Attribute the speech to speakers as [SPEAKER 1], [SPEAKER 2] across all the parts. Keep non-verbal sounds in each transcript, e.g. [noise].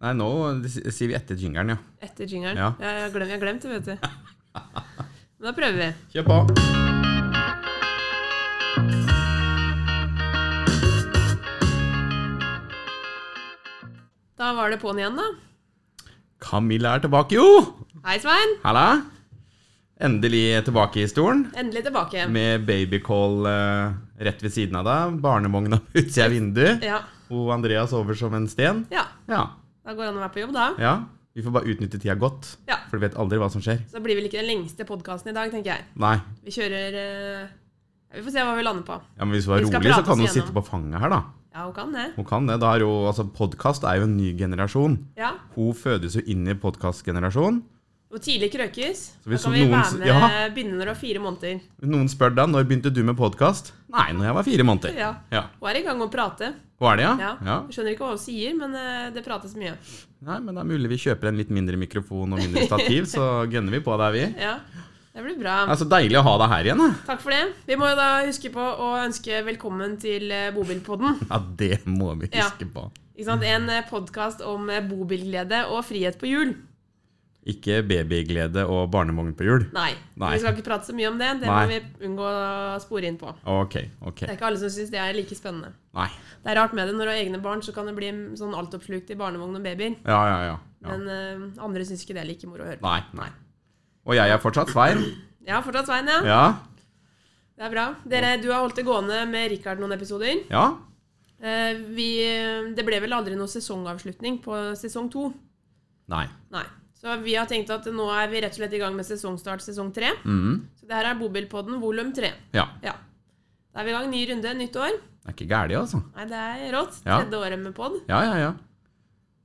[SPEAKER 1] Nei, nå det s- sier vi etter jingeren, ja.
[SPEAKER 2] Etter jingeren.
[SPEAKER 1] Ja.
[SPEAKER 2] Jeg har glem- jeg har glemt det, vet du. Men da prøver vi.
[SPEAKER 1] Kjør på.
[SPEAKER 2] Da var det på'n igjen, da.
[SPEAKER 1] Camilla er tilbake, jo!
[SPEAKER 2] Hei, Svein.
[SPEAKER 1] Halla. Endelig tilbake i stolen.
[SPEAKER 2] Endelig tilbake.
[SPEAKER 1] Med babycall eh, rett ved siden av deg. Barnevogna [laughs] på utsida av vinduet.
[SPEAKER 2] Ja.
[SPEAKER 1] Og Andrea sover som en sten.
[SPEAKER 2] ja.
[SPEAKER 1] Ja.
[SPEAKER 2] Da går det an å være på jobb, da.
[SPEAKER 1] ja. Vi får bare utnytte tida godt.
[SPEAKER 2] Ja.
[SPEAKER 1] For du vet aldri hva som skjer.
[SPEAKER 2] Så det blir vel ikke den lengste podkasten i dag, tenker jeg.
[SPEAKER 1] Nei.
[SPEAKER 2] Vi kjører eh, ja, Vi får se hva vi lander på.
[SPEAKER 1] Ja, men hvis hun er
[SPEAKER 2] Vi skal
[SPEAKER 1] rolig, så
[SPEAKER 2] prate
[SPEAKER 1] kan
[SPEAKER 2] oss
[SPEAKER 1] hun sitte
[SPEAKER 2] igjennom.
[SPEAKER 1] på fanget her, da.
[SPEAKER 2] Ja, hun kan det.
[SPEAKER 1] Hun kan det. Da er jo, altså, Podkast er jo en ny generasjon.
[SPEAKER 2] Ja.
[SPEAKER 1] Hun fødes jo inn i podkastgenerasjonen.
[SPEAKER 2] Og tidlig krøkes. Da
[SPEAKER 1] hvis
[SPEAKER 2] kan vi
[SPEAKER 1] noen s-
[SPEAKER 2] være med
[SPEAKER 1] ja.
[SPEAKER 2] begynne når du har fire måneder.
[SPEAKER 1] Hvis Noen spør deg når begynte du med podkast. Nei, når jeg var fire måneder.
[SPEAKER 2] Ja. Hun er i gang med å prate.
[SPEAKER 1] Hva er det, ja?
[SPEAKER 2] Ja. Jeg Skjønner ikke hva hun sier, men eh, det prates mye.
[SPEAKER 1] Nei, men det er mulig vi kjøper en litt mindre mikrofon og mindre stativ, så gønner vi på der, vi.
[SPEAKER 2] Ja, det blir bra.
[SPEAKER 1] Det er så deilig å ha deg her igjen, da.
[SPEAKER 2] Takk for det. Vi må jo da huske på å ønske velkommen til eh, Bobilpodden.
[SPEAKER 1] Ja, det må vi
[SPEAKER 2] Ja.
[SPEAKER 1] huske på.
[SPEAKER 2] Ikke sant? En podkast om eh, bobilglede og frihet på hjul.
[SPEAKER 1] Ikke babyglede og barnevogn på hjul.
[SPEAKER 2] Nei,
[SPEAKER 1] Nei.
[SPEAKER 2] vi skal ikke prate så mye om det. Det
[SPEAKER 1] Nei.
[SPEAKER 2] må vi unngå å spore inn på.
[SPEAKER 1] Ok, ok.
[SPEAKER 2] Det er ikke alle som syns det er like spennende.
[SPEAKER 1] Nei.
[SPEAKER 2] Det er rart med det. Når du har egne barn, så kan det bli mm, sånn altoppslukt i barnevogn og babyer.
[SPEAKER 1] Ja, ja, ja. ja.
[SPEAKER 2] Men eh, andre syns ikke det er like moro å høre på.
[SPEAKER 1] Nei, nei. Og jeg er fortsatt Svein.
[SPEAKER 2] Ja, fortsatt Svein, ja.
[SPEAKER 1] Ja.
[SPEAKER 2] Det er bra. Dere, du har holdt det gående med Richard noen episoder.
[SPEAKER 1] Ja.
[SPEAKER 2] Eh, vi, det ble vel aldri noen sesongavslutning på sesong to.
[SPEAKER 1] Nei.
[SPEAKER 2] Nei. Så vi har tenkt at nå er vi rett og slett i gang med sesongstart sesong tre.
[SPEAKER 1] Mhm.
[SPEAKER 2] Så det her er Bobilpodden volum tre.
[SPEAKER 1] Ja.
[SPEAKER 2] Ja. Da er vi i gang. Ny runde, nytt år.
[SPEAKER 1] Det er ikke gærent, altså.
[SPEAKER 2] Nei, det er rått.
[SPEAKER 1] Ja.
[SPEAKER 2] Tredje året med pod.
[SPEAKER 1] Ja, ja, ja.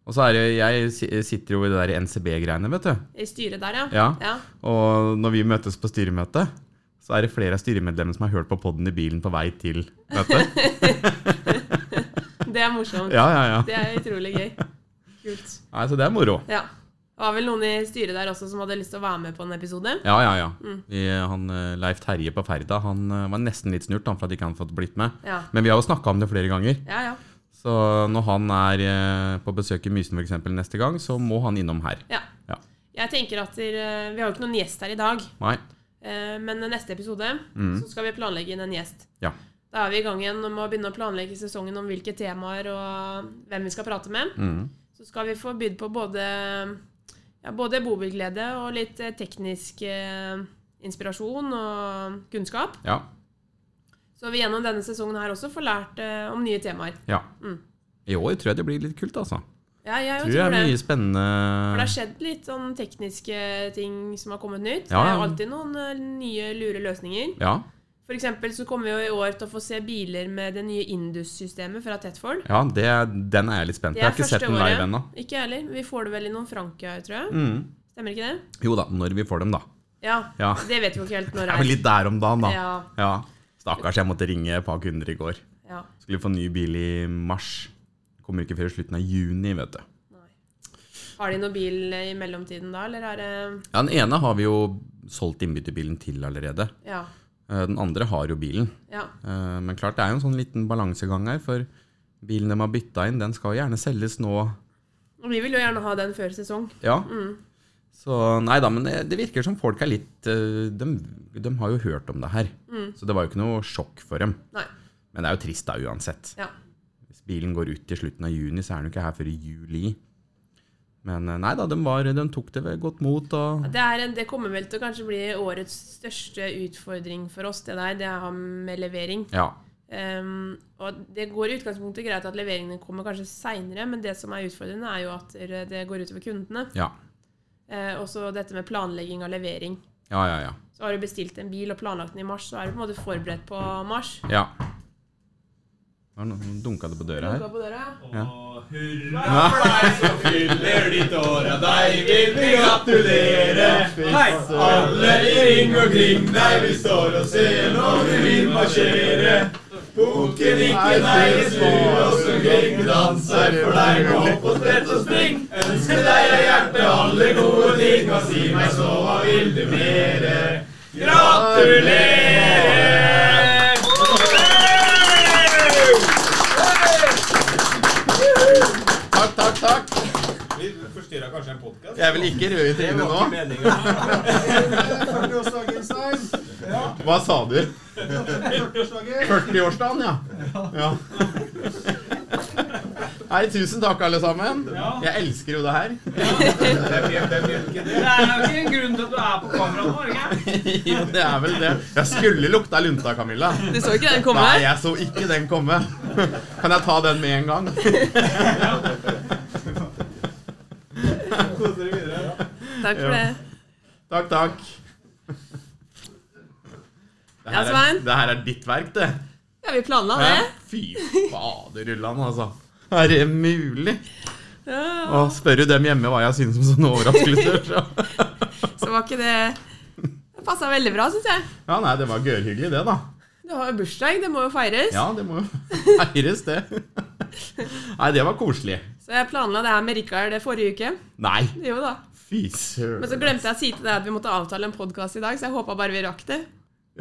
[SPEAKER 1] Og så er det, jeg si- sitter jo i det der NCB-greiene, vet du.
[SPEAKER 2] I styret der, ja.
[SPEAKER 1] Ja. Og når vi møtes på styremøte, så er det flere av styremedlemmene som har hørt på podden i bilen på vei til møtet.
[SPEAKER 2] [laughs] Det er morsomt.
[SPEAKER 1] Ja, ja, ja.
[SPEAKER 2] Det er utrolig gøy. Kult.
[SPEAKER 1] Nei, så det er moro.
[SPEAKER 2] Ja. Det var vel noen i styret der også som hadde lyst til å være med på en episode.
[SPEAKER 1] Ja, ja, ja.
[SPEAKER 2] Mm.
[SPEAKER 1] Vi, han, eh, Leif Terje på Ferda han eh, var nesten litt snurt han, for at ikke han fått blitt med.
[SPEAKER 2] Ja.
[SPEAKER 1] Men vi har jo snakka om det flere ganger.
[SPEAKER 2] Ja, ja.
[SPEAKER 1] Så når han er eh, på besøk i Mysen for eksempel neste gang, så må han innom her.
[SPEAKER 2] ja.
[SPEAKER 1] Ja.
[SPEAKER 2] Jeg tenker at dere- eh, Vi har jo ikke noen gjest her i dag,
[SPEAKER 1] Nei?
[SPEAKER 2] eh, men neste episode
[SPEAKER 1] Mm.
[SPEAKER 2] så skal vi planlegge inn en gjest.
[SPEAKER 1] Ja.
[SPEAKER 2] Da er vi i gang igjen med å begynne å planlegge sesongen om hvilke temaer og hvem vi skal prate med.
[SPEAKER 1] Mm.
[SPEAKER 2] Så skal vi få bydd på både, ja, både bobilglede og litt eh, teknisk eh, inspirasjon og kunnskap.
[SPEAKER 1] Ja.
[SPEAKER 2] Så vi gjennom denne sesongen her også får lært eh, om nye temaer.
[SPEAKER 1] ja.
[SPEAKER 2] Mm.
[SPEAKER 1] I år tror jeg det blir litt kult, altså.
[SPEAKER 2] Ja, jeg
[SPEAKER 1] Tror
[SPEAKER 2] tror,
[SPEAKER 1] det er
[SPEAKER 2] det.
[SPEAKER 1] mye eh,
[SPEAKER 2] For det
[SPEAKER 1] spennende
[SPEAKER 2] har skjedd litt sånn tekniske ting som har kommet nytt.
[SPEAKER 1] Ja,
[SPEAKER 2] Det er
[SPEAKER 1] ja.
[SPEAKER 2] jo alltid noen eh, nye lure løsninger.
[SPEAKER 1] Ja.
[SPEAKER 2] For eksempel så kommer vi jo i år til å få se biler med det nye Indus-systemet fra Tetford.
[SPEAKER 1] Ja, det, den er jeg litt spent på. Jeg har ikke sett den live ennå.
[SPEAKER 2] Ikke jeg heller. Vi får det vel i noen Frankia, tror jeg.
[SPEAKER 1] Mm.
[SPEAKER 2] Stemmer ikke det?
[SPEAKER 1] Jo da, når vi får dem, da.
[SPEAKER 2] Ja.
[SPEAKER 1] Ja.
[SPEAKER 2] Det vet vi jo ikke helt når
[SPEAKER 1] Jeg
[SPEAKER 2] det
[SPEAKER 1] er vel
[SPEAKER 2] er.
[SPEAKER 1] litt der om dagen, da.
[SPEAKER 2] Ja,
[SPEAKER 1] Ja. Stakkars, jeg måtte ringe et par kunder i går.
[SPEAKER 2] ja.
[SPEAKER 1] Skulle få ny bil i mars. Kommer ikke før i slutten av juni, vet du.
[SPEAKER 2] Nei. Har de noen bil i mellomtiden da, eller er det
[SPEAKER 1] Ja, Den ene har vi jo solgt innbytterbilen til allerede.
[SPEAKER 2] Ja.
[SPEAKER 1] Eh, Den andre har jo bilen.
[SPEAKER 2] ja.
[SPEAKER 1] Eh, Men klart det er jo en sånn liten balansegang her, for bilen de har bytta inn, den skal jo gjerne selges nå.
[SPEAKER 2] Og vi vil jo gjerne ha den før sesong.
[SPEAKER 1] Ja.
[SPEAKER 2] Mm.
[SPEAKER 1] Så nei da, men det det virker som folk er litt eh, De, de har jo hørt om det her.
[SPEAKER 2] Mm.
[SPEAKER 1] Så det var jo ikke noe sjokk for dem.
[SPEAKER 2] Nei.
[SPEAKER 1] Men det er jo trist da uansett.
[SPEAKER 2] Ja.
[SPEAKER 1] Hvis bilen går ut i slutten av juni, så er den jo ikke her før i juli. Men eh, nei da, de, var, de tok det ved godt mot og
[SPEAKER 2] Det, er en, det kommer vel til å kanskje bli årets største utfordring for oss, det der. Det har med levering.
[SPEAKER 1] Ja.
[SPEAKER 2] Ehm, og det går i utgangspunktet greit at leveringene kommer kanskje seinere, men det som er utfordrende, er jo at det går utover kundene.
[SPEAKER 1] Ja.
[SPEAKER 2] Eh, også dette med planlegging av levering.
[SPEAKER 1] Ja, ja, ja.
[SPEAKER 2] Så har du bestilt en bil og planlagt den i mars, så er du på en måte forberedt på mars.
[SPEAKER 1] Ja. Det var noen som dunka det på døra her.
[SPEAKER 2] Dunket på døra, ja.
[SPEAKER 1] Ja.
[SPEAKER 3] Og hurra for deg som fyller ditt år, og deg vil vi gratulere. Hei! Alle i ring og kring deg vi står og ser når vi vil marsjere. Pukken ikke nei, vi snur oss omkring, vi danser for deg, gå opp og sprett og spring. Ønsker deg av hjertet alle gode ting, og si meg så, hva vil du mere? Gratulerer!
[SPEAKER 1] Takk, takk, takk.
[SPEAKER 3] Vi forstyrra kanskje en podkast.
[SPEAKER 1] Jeg vil ikke røde i trynet nå.
[SPEAKER 4] Førteårsdagen, Stein. Ja,
[SPEAKER 1] Hva sa du?
[SPEAKER 4] førteårsdagen.
[SPEAKER 1] 40-årsdagen, ja. ja. Nei, tusen takk, alle sammen.
[SPEAKER 5] Ja.
[SPEAKER 1] Jeg elsker jo det her.
[SPEAKER 5] Det er jo ikke en grunn til at du er på kamera nå, er det ikke?
[SPEAKER 1] Jo, det er vel det. Jeg skulle lukta lunta, Camilla.
[SPEAKER 2] Du så ikke den komme?
[SPEAKER 1] Nei, jeg så ikke den komme. Kan jeg ta den med en gang? [laughs]
[SPEAKER 3] Kos dere videre.
[SPEAKER 2] Takk for det.
[SPEAKER 1] Takk, takk. Det
[SPEAKER 2] Ja,
[SPEAKER 1] her er,
[SPEAKER 2] Svein?
[SPEAKER 1] det her er ditt verk, det.
[SPEAKER 2] Ja, vi planla
[SPEAKER 1] Hæ?
[SPEAKER 2] det.
[SPEAKER 1] Fy faderullan, altså. Er det mulig?
[SPEAKER 2] Ja.
[SPEAKER 1] Å, spør jo dem hjemme hva jeg synes om sånne overraskelser. så. [laughs]
[SPEAKER 2] Så var ikke det Det passa veldig bra, syns jeg.
[SPEAKER 1] Ja, nei, det var gørrhyggelig, det, da.
[SPEAKER 2] Du har jo bursdag, det må jo feires.
[SPEAKER 1] Ja, det må jo [laughs] feires, det.
[SPEAKER 2] [laughs]
[SPEAKER 1] Nei, det var koselig.
[SPEAKER 2] Så jeg planla det her med Rikard forrige uke.
[SPEAKER 1] Nei,
[SPEAKER 2] Jo da.
[SPEAKER 1] fy
[SPEAKER 2] Men så
[SPEAKER 1] søren.
[SPEAKER 2] glemte jeg å si til deg at vi måtte avtale en podkast i dag, så jeg håpa bare vi rakk det.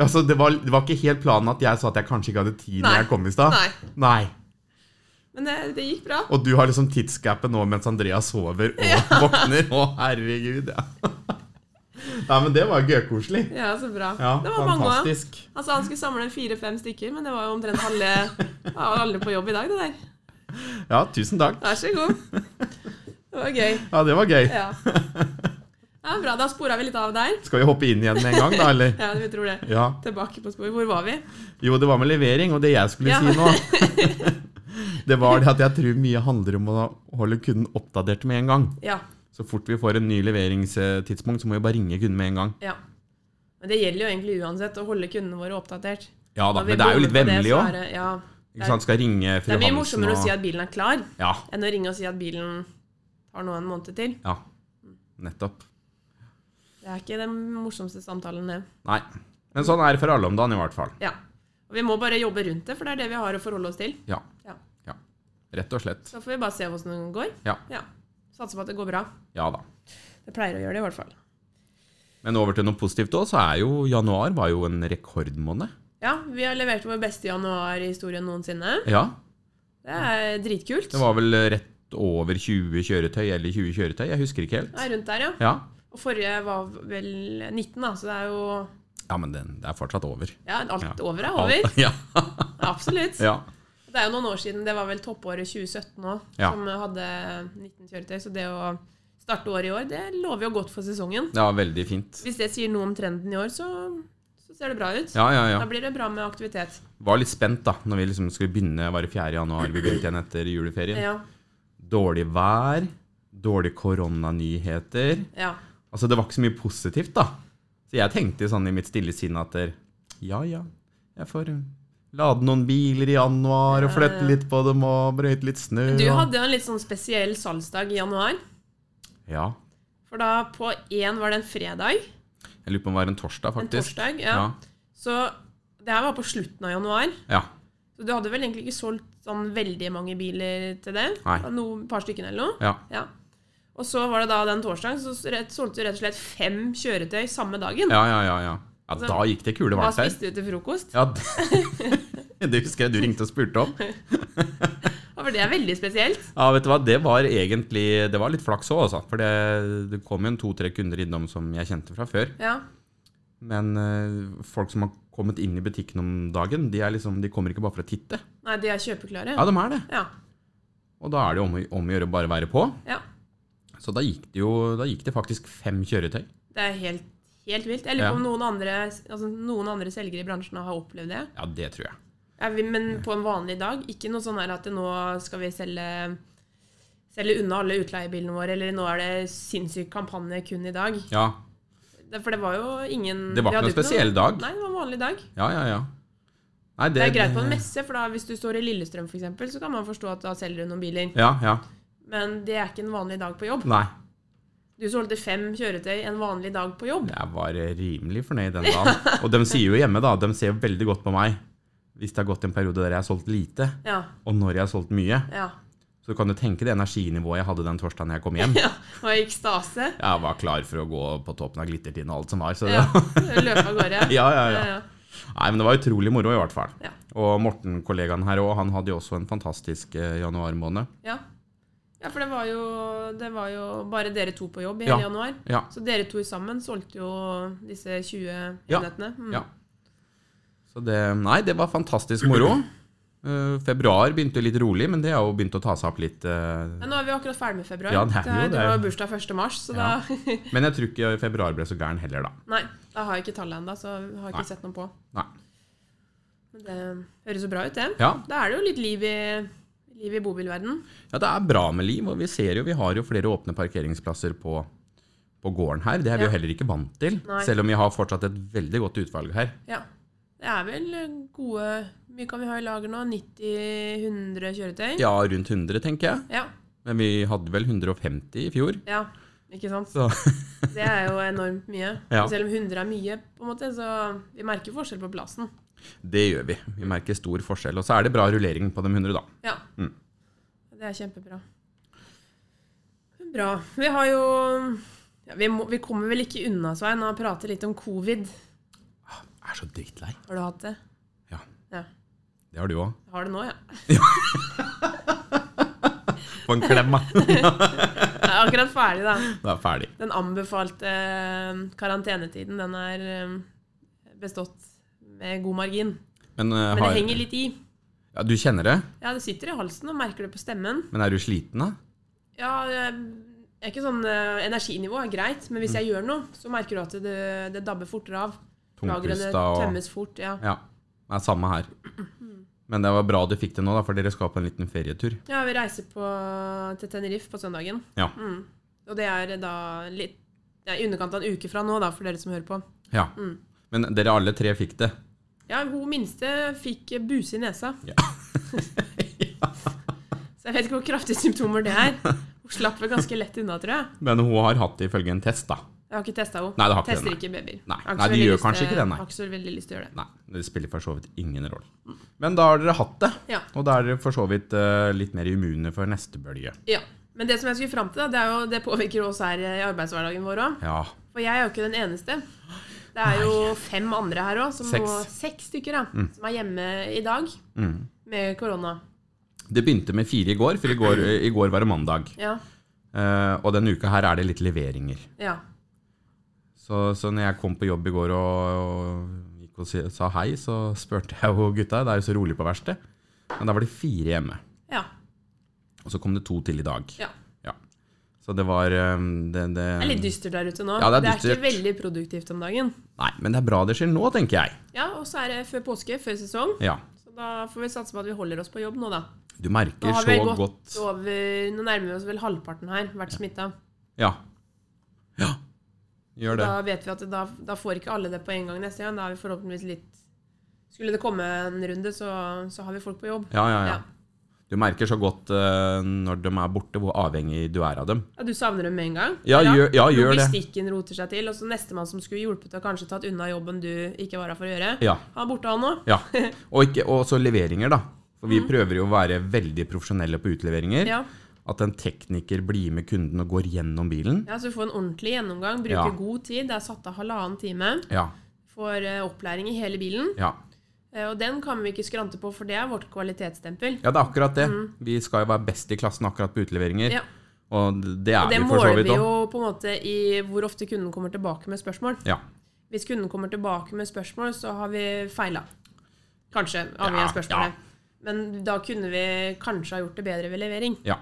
[SPEAKER 1] Altså, det var, det var ikke helt planen at jeg sa at jeg kanskje ikke hadde tid
[SPEAKER 2] Nei.
[SPEAKER 1] når jeg kom i stad.
[SPEAKER 2] Nei.
[SPEAKER 1] Nei.
[SPEAKER 2] Men det, det gikk bra.
[SPEAKER 1] Og du har liksom tidsgapet nå mens Andreas sover og [laughs] våkner. Å, herregud. Ja. [laughs] Nei, men det var gøykoselig.
[SPEAKER 2] Ja, så bra.
[SPEAKER 1] Ja,
[SPEAKER 2] det var mange av dem.
[SPEAKER 1] fantastisk.
[SPEAKER 2] Altså, han skulle samle fire-fem stykker, men det var jo omtrent halve ja, alle på jobb i dag, det der.
[SPEAKER 1] Ja, tusen takk.
[SPEAKER 2] Vær så god. Det var gøy.
[SPEAKER 1] Ja, det var gøy.
[SPEAKER 2] Ja. ja bra, da spora vi litt av der.
[SPEAKER 1] Skal vi hoppe inn igjen med en gang, da, eller?
[SPEAKER 2] Ja, vi tror det.
[SPEAKER 1] Ja.
[SPEAKER 2] Tilbake på sporet. Hvor var vi?
[SPEAKER 1] Jo, det var med levering, og det jeg skulle
[SPEAKER 2] Ja.
[SPEAKER 1] si nå
[SPEAKER 2] [laughs]
[SPEAKER 1] Det var det at jeg tror mye handler om å holde kunden oppdatert med en gang.
[SPEAKER 2] Ja.
[SPEAKER 1] Så fort vi får en ny leveringstidspunkt, så må vi bare ringe kunden med en gang.
[SPEAKER 2] ja. Men det gjelder jo egentlig uansett å holde kundene våre oppdatert.
[SPEAKER 1] Ja da,
[SPEAKER 2] Når vi
[SPEAKER 1] men det er jo litt
[SPEAKER 2] bommer på det,
[SPEAKER 1] vemmelig
[SPEAKER 2] så
[SPEAKER 1] òg.
[SPEAKER 2] er det- Ja.
[SPEAKER 1] Ikke sant, skal ringe
[SPEAKER 2] Det
[SPEAKER 1] fru
[SPEAKER 2] er mye
[SPEAKER 1] Hansen
[SPEAKER 2] morsommere å si
[SPEAKER 1] og
[SPEAKER 2] at bilen er klar,
[SPEAKER 1] Ja,
[SPEAKER 2] enn å ringe og si at bilen tar nå en måned til.
[SPEAKER 1] ja. Nettopp.
[SPEAKER 2] Det er ikke den morsomste samtalen, det.
[SPEAKER 1] Nei. Men sånn er det for alle om dagen, i hvert fall.
[SPEAKER 2] Ja. Og vi må bare jobbe rundt det, for det er det vi har å forholde oss til.
[SPEAKER 1] Ja.
[SPEAKER 2] Ja.
[SPEAKER 1] ja. Rett og slett.
[SPEAKER 2] Så får vi bare se hvordan det går.
[SPEAKER 1] Ja.
[SPEAKER 2] Satser på at det går bra.
[SPEAKER 1] Ja da.
[SPEAKER 2] Det pleier å gjøre det, i hvert fall.
[SPEAKER 1] Men over til noe positivt òg, så er jo januar var jo en rekordmåned.
[SPEAKER 2] Ja, vi har levert vår beste januar i historien noensinne.
[SPEAKER 1] Ja.
[SPEAKER 2] Det er dritkult.
[SPEAKER 1] Det var vel rett over 20 kjøretøy, eller 20 kjøretøy, jeg husker ikke helt.
[SPEAKER 2] Det er rundt der, ja.
[SPEAKER 1] Ja,
[SPEAKER 2] Og forrige var vel 19, da, så det er jo
[SPEAKER 1] ja men den, det er fortsatt over.
[SPEAKER 2] Ja, alt
[SPEAKER 1] Ja.
[SPEAKER 2] over er over.
[SPEAKER 1] [laughs] Ja,
[SPEAKER 2] Absolutt.
[SPEAKER 1] ja.
[SPEAKER 2] Det er jo noen år siden, det var vel toppåret 2017 òg,
[SPEAKER 1] Ja.
[SPEAKER 2] som hadde 19 kjøretøy. Så det å starte året i år, det lover jo godt for sesongen.
[SPEAKER 1] ja veldig fint.
[SPEAKER 2] Hvis det sier noe om trenden i år, så, så ser det bra ut.
[SPEAKER 1] Ja, ja,
[SPEAKER 2] Da
[SPEAKER 1] ja.
[SPEAKER 2] blir det bra med aktivitet.
[SPEAKER 1] Var litt spent da, når vi liksom skulle begynne, var det 4. januar vi begynte igjen etter juleferien.
[SPEAKER 2] Ja.
[SPEAKER 1] Dårlig vær, dårlige koronanyheter.
[SPEAKER 2] ja.
[SPEAKER 1] Altså, det var ikke så mye positivt da. Så jeg tenkte sånn i mitt stille sinn at der, ja, ja, jeg får eh, lade noen biler i januar og
[SPEAKER 2] Ja,
[SPEAKER 1] flytte
[SPEAKER 2] ja.
[SPEAKER 1] litt på dem og brøyte litt snø.
[SPEAKER 2] Du
[SPEAKER 1] og-
[SPEAKER 2] hadde jo en litt sånn spesiell salgsdag i januar.
[SPEAKER 1] Ja,
[SPEAKER 2] For da på én var det en fredag.
[SPEAKER 1] jeg lurer på om det var en torsdag
[SPEAKER 2] En
[SPEAKER 1] faktisk.
[SPEAKER 2] torsdag. Ja. Så det her var på slutten av januar.
[SPEAKER 1] Ja, ja.
[SPEAKER 2] Så du hadde vel egentlig ikke solgt sånn veldig mange biler til det?
[SPEAKER 1] Nei.
[SPEAKER 2] Noen par stykker eller noe?
[SPEAKER 1] Ja.
[SPEAKER 2] Ja. Og så var det da den torsdagen, så rett, solgte du rett og slett fem kjøretøy samme dagen.
[SPEAKER 1] Ja, ja, ja. ja. ja da gikk det kule
[SPEAKER 2] Hva
[SPEAKER 1] varmt her.
[SPEAKER 2] spiste du til frokost?
[SPEAKER 1] Ja, det, det [laughs] husker jeg du ringte og spurte om.
[SPEAKER 2] Og for det er veldig spesielt.
[SPEAKER 1] Ja, vet du hva, Det var egentlig Det var litt flaks òg, altså. For det, det kom jo en to-tre kunder innom som jeg kjente fra før.
[SPEAKER 2] Ja.
[SPEAKER 1] Men eh, folk som har kommet inn i butikken om dagen, de, er liksom, de kommer ikke bare for å titte.
[SPEAKER 2] Nei, de er kjøpeklare.
[SPEAKER 1] Ja, de er det.
[SPEAKER 2] Ja.
[SPEAKER 1] Og da er det jo om, å- om å gjøre å bare være på.
[SPEAKER 2] ja.
[SPEAKER 1] Så da gikk det jo da gikk det faktisk fem kjøretøy.
[SPEAKER 2] Det er helt, helt vilt. Jeg lurer
[SPEAKER 1] Ja.
[SPEAKER 2] på om noen andre, altså, noen andre selgere i bransjen har opplevd det.
[SPEAKER 1] Ja, det tror jeg.
[SPEAKER 2] Ja, vi, men på en vanlig dag. Ikke noe sånn her at nå skal vi selge, selge unna alle utleiebilene våre, eller nå er det sinnssyk kampanje kun i dag.
[SPEAKER 1] Ja,
[SPEAKER 2] Det- For det var jo ingen
[SPEAKER 1] Det var
[SPEAKER 2] vi
[SPEAKER 1] ikke
[SPEAKER 2] hadde
[SPEAKER 1] noen spesiell dag.
[SPEAKER 2] Nei, det var en vanlig dag.
[SPEAKER 1] ja, ja. ja. Nei,
[SPEAKER 2] Det er greit på en messe, for da, hvis du står i Lillestrøm f.eks., så kan man forstå at da selger du noen biler.
[SPEAKER 1] Ja, ja.
[SPEAKER 2] Men det er ikke en vanlig dag på jobb.
[SPEAKER 1] Nei.
[SPEAKER 2] Du solgte fem kjøretøy en vanlig dag på jobb.
[SPEAKER 1] Jeg var rimelig fornøyd den dagen. Og de sier jo hjemme, da, de ser veldig godt på meg. Hvis det har gått en periode der jeg har solgt lite,
[SPEAKER 2] Ja.
[SPEAKER 1] og når jeg har solgt mye,
[SPEAKER 2] Ja.
[SPEAKER 1] så kan du tenke det energinivået jeg hadde den torsdagen jeg kom hjem.
[SPEAKER 2] ja. Og i ekstase.
[SPEAKER 1] Jeg var klar for å gå på toppen av glittertind og alt som var. Så det,
[SPEAKER 2] Ja. [laughs] Løpe av
[SPEAKER 1] [laughs]
[SPEAKER 2] gårde.
[SPEAKER 1] ja, ja, ja.
[SPEAKER 2] Ja, ja.
[SPEAKER 1] Nei, men det var utrolig moro i hvert fall.
[SPEAKER 2] Ja.
[SPEAKER 1] Og Morten, kollegaen her òg, han hadde jo også en fantastisk eh, januarmåned.
[SPEAKER 2] Ja. Ja, for det var jo, det var jo bare dere to på jobb i
[SPEAKER 1] Ja.
[SPEAKER 2] hele januar.
[SPEAKER 1] Ja.
[SPEAKER 2] Så dere to sammen solgte jo disse 20
[SPEAKER 1] Ja.
[SPEAKER 2] enhetene. Mm.
[SPEAKER 1] Ja. Så det Nei, det var fantastisk moro. Eh, februar begynte jo litt rolig, men det har jo begynt å ta seg opp litt. eh.
[SPEAKER 2] Ja, nå er vi akkurat ferdig med februar.
[SPEAKER 1] Ja, det er jo
[SPEAKER 2] du
[SPEAKER 1] det.
[SPEAKER 2] har jo bursdag 1. mars, så
[SPEAKER 1] Ja.
[SPEAKER 2] da [laughs]
[SPEAKER 1] Men jeg tror ikke februar ble så gæren heller, da.
[SPEAKER 2] Nei, da har jeg ikke tallet ennå, så har jeg
[SPEAKER 1] Nei.
[SPEAKER 2] ikke sett noe på.
[SPEAKER 1] Nei.
[SPEAKER 2] Men det høres jo bra ut, det.
[SPEAKER 1] Ja,
[SPEAKER 2] Da er det jo litt liv i, liv i bobilverden.
[SPEAKER 1] ja det er bra med liv, og vi ser jo vi har jo flere åpne parkeringsplasser på, på gården her. Det er vi
[SPEAKER 2] Ja.
[SPEAKER 1] jo heller ikke vant til,
[SPEAKER 2] Nei.
[SPEAKER 1] selv om vi har fortsatt et veldig godt utvalg her.
[SPEAKER 2] Ja. Det er vel gode Hvor mye kan vi ha i lager nå? 90-100 kjøretøy?
[SPEAKER 1] Ja, rundt 100, tenker jeg.
[SPEAKER 2] ja.
[SPEAKER 1] Men vi hadde vel 150 i fjor.
[SPEAKER 2] Ja, Ikke sant?
[SPEAKER 1] Så [laughs]
[SPEAKER 2] Det er jo enormt mye.
[SPEAKER 1] Ja.
[SPEAKER 2] Og Selv om 100 er mye, på en måte, så vi merker forskjell på plassen.
[SPEAKER 1] det gjør vi. Vi merker stor forskjell. Og så er det bra rullering på de 100, da.
[SPEAKER 2] Ja.
[SPEAKER 1] Mm.
[SPEAKER 2] Det er kjempebra. Bra. Vi har jo ja, vi, må, vi kommer vel ikke unna, Svein, å prate litt om covid.
[SPEAKER 1] Jeg er så dritlei.
[SPEAKER 2] Har du hatt det?
[SPEAKER 1] Ja.
[SPEAKER 2] ja.
[SPEAKER 1] Det har du òg.
[SPEAKER 2] Jeg Har det nå, ja.
[SPEAKER 1] Få en klem, da. [laughs]
[SPEAKER 2] Jeg er akkurat ferdig, da.
[SPEAKER 1] Da er ferdig.
[SPEAKER 2] Den anbefalte eh, karantenetiden, den er eh, bestått med god margin.
[SPEAKER 1] Men, eh, har,
[SPEAKER 2] Men det henger litt i.
[SPEAKER 1] ja, du kjenner det?
[SPEAKER 2] Ja, det sitter i halsen, og merker det på stemmen.
[SPEAKER 1] Men er du sliten, da?
[SPEAKER 2] Ja, jeg jeg er ikke sånn eh, Energinivået er greit, men
[SPEAKER 1] Mm.
[SPEAKER 2] hvis jeg gjør noe, så merker du at det, det dabber fortere av. Lagrene
[SPEAKER 1] Tungpusta og
[SPEAKER 2] tømmes fort. Ja.
[SPEAKER 1] Ja. Det er samme her. Men det var bra du fikk det nå, da, for dere skal på en liten ferietur.
[SPEAKER 2] ja, vi reiser på, til Tenerife på søndagen.
[SPEAKER 1] Ja.
[SPEAKER 2] Mm. Og det er da litt ja, i underkant av en uke fra nå, da, for dere som hører på.
[SPEAKER 1] Ja.
[SPEAKER 2] Mm.
[SPEAKER 1] Men dere alle tre fikk det.
[SPEAKER 2] Ja, hun minste fikk buse i nesa. [laughs]
[SPEAKER 1] Ja.
[SPEAKER 2] Så jeg vet ikke hvor kraftige symptomer det er. Hun slapp vel ganske lett unna, tror jeg.
[SPEAKER 1] Men hun har hatt det ifølge en test, da.
[SPEAKER 2] Jeg har ikke testa henne.
[SPEAKER 1] Nei, det har ikke
[SPEAKER 2] Tester
[SPEAKER 1] det, nei.
[SPEAKER 2] ikke babyer.
[SPEAKER 1] Nei,
[SPEAKER 2] Jeg
[SPEAKER 1] nei,
[SPEAKER 2] har så
[SPEAKER 1] de
[SPEAKER 2] veldig
[SPEAKER 1] gjør
[SPEAKER 2] lyst til-
[SPEAKER 1] kanskje ikke det, nei.
[SPEAKER 2] jeg Har ikke så veldig lyst til å gjøre det.
[SPEAKER 1] Nei, det spiller for så vidt ingen rolle. Men da har dere hatt det,
[SPEAKER 2] Ja.
[SPEAKER 1] og da er dere for så vidt eh, litt mer immune for neste bølge.
[SPEAKER 2] Ja. Men det som jeg skulle fram til, da, det, er jo, det påvirker jo oss her eh, i arbeidshverdagen vår òg.
[SPEAKER 1] Ja.
[SPEAKER 2] For jeg er jo ikke den eneste. Det er jo fem andre her òg,
[SPEAKER 1] Seks.
[SPEAKER 2] seks stykker, da, som er hjemme i dag
[SPEAKER 1] Mm.
[SPEAKER 2] med korona.
[SPEAKER 1] Det begynte med fire i går, for i går, i går var det mandag.
[SPEAKER 2] Ja.
[SPEAKER 1] Eh, og denne uka her er det litt leveringer.
[SPEAKER 2] ja.
[SPEAKER 1] Så, så når jeg kom på jobb i går og, og gikk og si- sa hei, så spurte jeg jo gutta. Det er jo så rolig på verkstedet. Men da var det fire hjemme.
[SPEAKER 2] Ja.
[SPEAKER 1] Og så kom det to til i dag.
[SPEAKER 2] ja.
[SPEAKER 1] Så det var eh, det, det,
[SPEAKER 2] Det er litt dystert der ute nå.
[SPEAKER 1] Ja, det er
[SPEAKER 2] det er ikke
[SPEAKER 1] dystert.
[SPEAKER 2] veldig produktivt om dagen.
[SPEAKER 1] Nei, men det er bra det skjer nå, tenker jeg.
[SPEAKER 2] Ja, og så er det før påske, før sesong.
[SPEAKER 1] Ja.
[SPEAKER 2] Så da får vi satse på at vi holder oss på jobb nå, da.
[SPEAKER 1] Du
[SPEAKER 2] Nå
[SPEAKER 1] merker så
[SPEAKER 2] har vi gått
[SPEAKER 1] godt
[SPEAKER 2] over Nå nærmer vi oss vel halvparten her, vært smitta.
[SPEAKER 1] Ja. Ja. Gjør det.
[SPEAKER 2] Da vet vi at da, da får ikke alle det på en gang neste gang. Da er vi forhåpentligvis litt Skulle det komme en runde, så, så har vi folk på jobb.
[SPEAKER 1] Ja, ja, ja.
[SPEAKER 2] Ja.
[SPEAKER 1] Du merker så godt eh, når de er borte, hvor avhengig du er av dem.
[SPEAKER 2] Ja, du savner dem med en gang?
[SPEAKER 1] Ja, gjør- ja, gjør det.
[SPEAKER 2] Logistikken roter seg til, og så nestemann som skulle hjulpet og kanskje tatt unna jobben du ikke var her for å gjøre,
[SPEAKER 1] Ja.
[SPEAKER 2] han er borte, han òg.
[SPEAKER 1] ja. Og, ikke, og så leveringer, da. For
[SPEAKER 2] [laughs]
[SPEAKER 1] vi prøver jo å være veldig profesjonelle på utleveringer.
[SPEAKER 2] Mm. Ja.
[SPEAKER 1] At en tekniker blir med kunden og går gjennom bilen.
[SPEAKER 2] ja, så du får en ordentlig gjennomgang, bruker
[SPEAKER 1] Ja.
[SPEAKER 2] god tid. Det er satt av halvannen time.
[SPEAKER 1] Ja.
[SPEAKER 2] Får eh, opplæring i hele bilen.
[SPEAKER 1] Ja,
[SPEAKER 2] Eh, og den kan vi ikke skrante på, for det er vårt kvalitetsstempel.
[SPEAKER 1] ja det er akkurat det. Vi skal jo være best i klassen akkurat på utleveringer.
[SPEAKER 2] Ja.
[SPEAKER 1] Og det er
[SPEAKER 2] Og det
[SPEAKER 1] vi for så
[SPEAKER 2] måler
[SPEAKER 1] vidt
[SPEAKER 2] vi
[SPEAKER 1] òg.
[SPEAKER 2] jo på en måte i hvor ofte kunden kommer tilbake med spørsmål.
[SPEAKER 1] Ja.
[SPEAKER 2] Hvis kunden kommer tilbake med spørsmål, så har vi feila. Kanskje, avhengig av
[SPEAKER 1] Ja,
[SPEAKER 2] spørsmålet. Men da kunne vi kanskje ha gjort det bedre ved levering.
[SPEAKER 1] ja.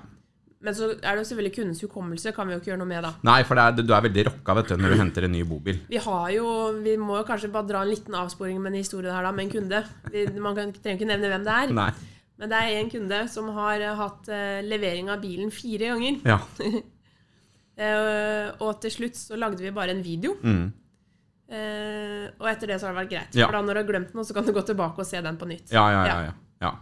[SPEAKER 2] Men så er det jo selvfølgelig kundens hukommelse, kan vi jo ikke gjøre noe med, da.
[SPEAKER 1] Nei, for det er, du er veldig rocka vet du, når du henter en ny bobil.
[SPEAKER 2] Vi har jo Vi må jo kanskje bare dra en liten avsporing med en historie her, da, med en kunde. Vi, man kan, trenger ikke nevne hvem det er.
[SPEAKER 1] Nei.
[SPEAKER 2] Men det er en kunde som har eh, hatt eh, levering av bilen fire ganger.
[SPEAKER 1] Ja.
[SPEAKER 2] Eh, og til slutt så lagde vi bare en video.
[SPEAKER 1] Mm.
[SPEAKER 2] Eh, og etter det så har det vært greit.
[SPEAKER 1] Ja.
[SPEAKER 2] For da når du har glemt noe, så kan du gå tilbake og se den på nytt.
[SPEAKER 1] Ja, ja, ja, ja. ja.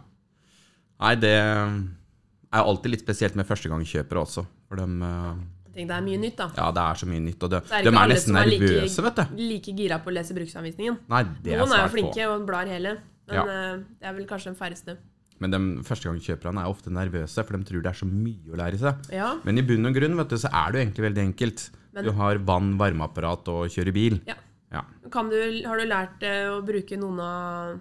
[SPEAKER 1] Nei, det er alltid litt spesielt med førstegangskjøpere også. For dem, eh,
[SPEAKER 2] Jeg tenker, det er mye nytt, da.
[SPEAKER 1] ja, det er så mye nytt, og de,
[SPEAKER 2] Så det
[SPEAKER 1] de
[SPEAKER 2] ikke
[SPEAKER 1] er
[SPEAKER 2] alle
[SPEAKER 1] nesten
[SPEAKER 2] som er like-
[SPEAKER 1] nervøse, vet du.
[SPEAKER 2] Like gira på å lese bruksanvisningen.
[SPEAKER 1] Nei, det er
[SPEAKER 2] Noen er jo
[SPEAKER 1] svært
[SPEAKER 2] flinke
[SPEAKER 1] få.
[SPEAKER 2] og blar hele, men
[SPEAKER 1] Ja.
[SPEAKER 2] eh, det er vel kanskje den færreste.
[SPEAKER 1] Men de førstegangskjøperne er ofte nervøse, for de tror det er så mye å lære seg.
[SPEAKER 2] Ja.
[SPEAKER 1] Men i bunn og grunn vet du, så er det jo egentlig veldig enkelt.
[SPEAKER 2] Men-
[SPEAKER 1] Du har vann, varmeapparat og kjører bil.
[SPEAKER 2] ja.
[SPEAKER 1] Ja.
[SPEAKER 2] Kan du, har du lært eh, å bruke noen av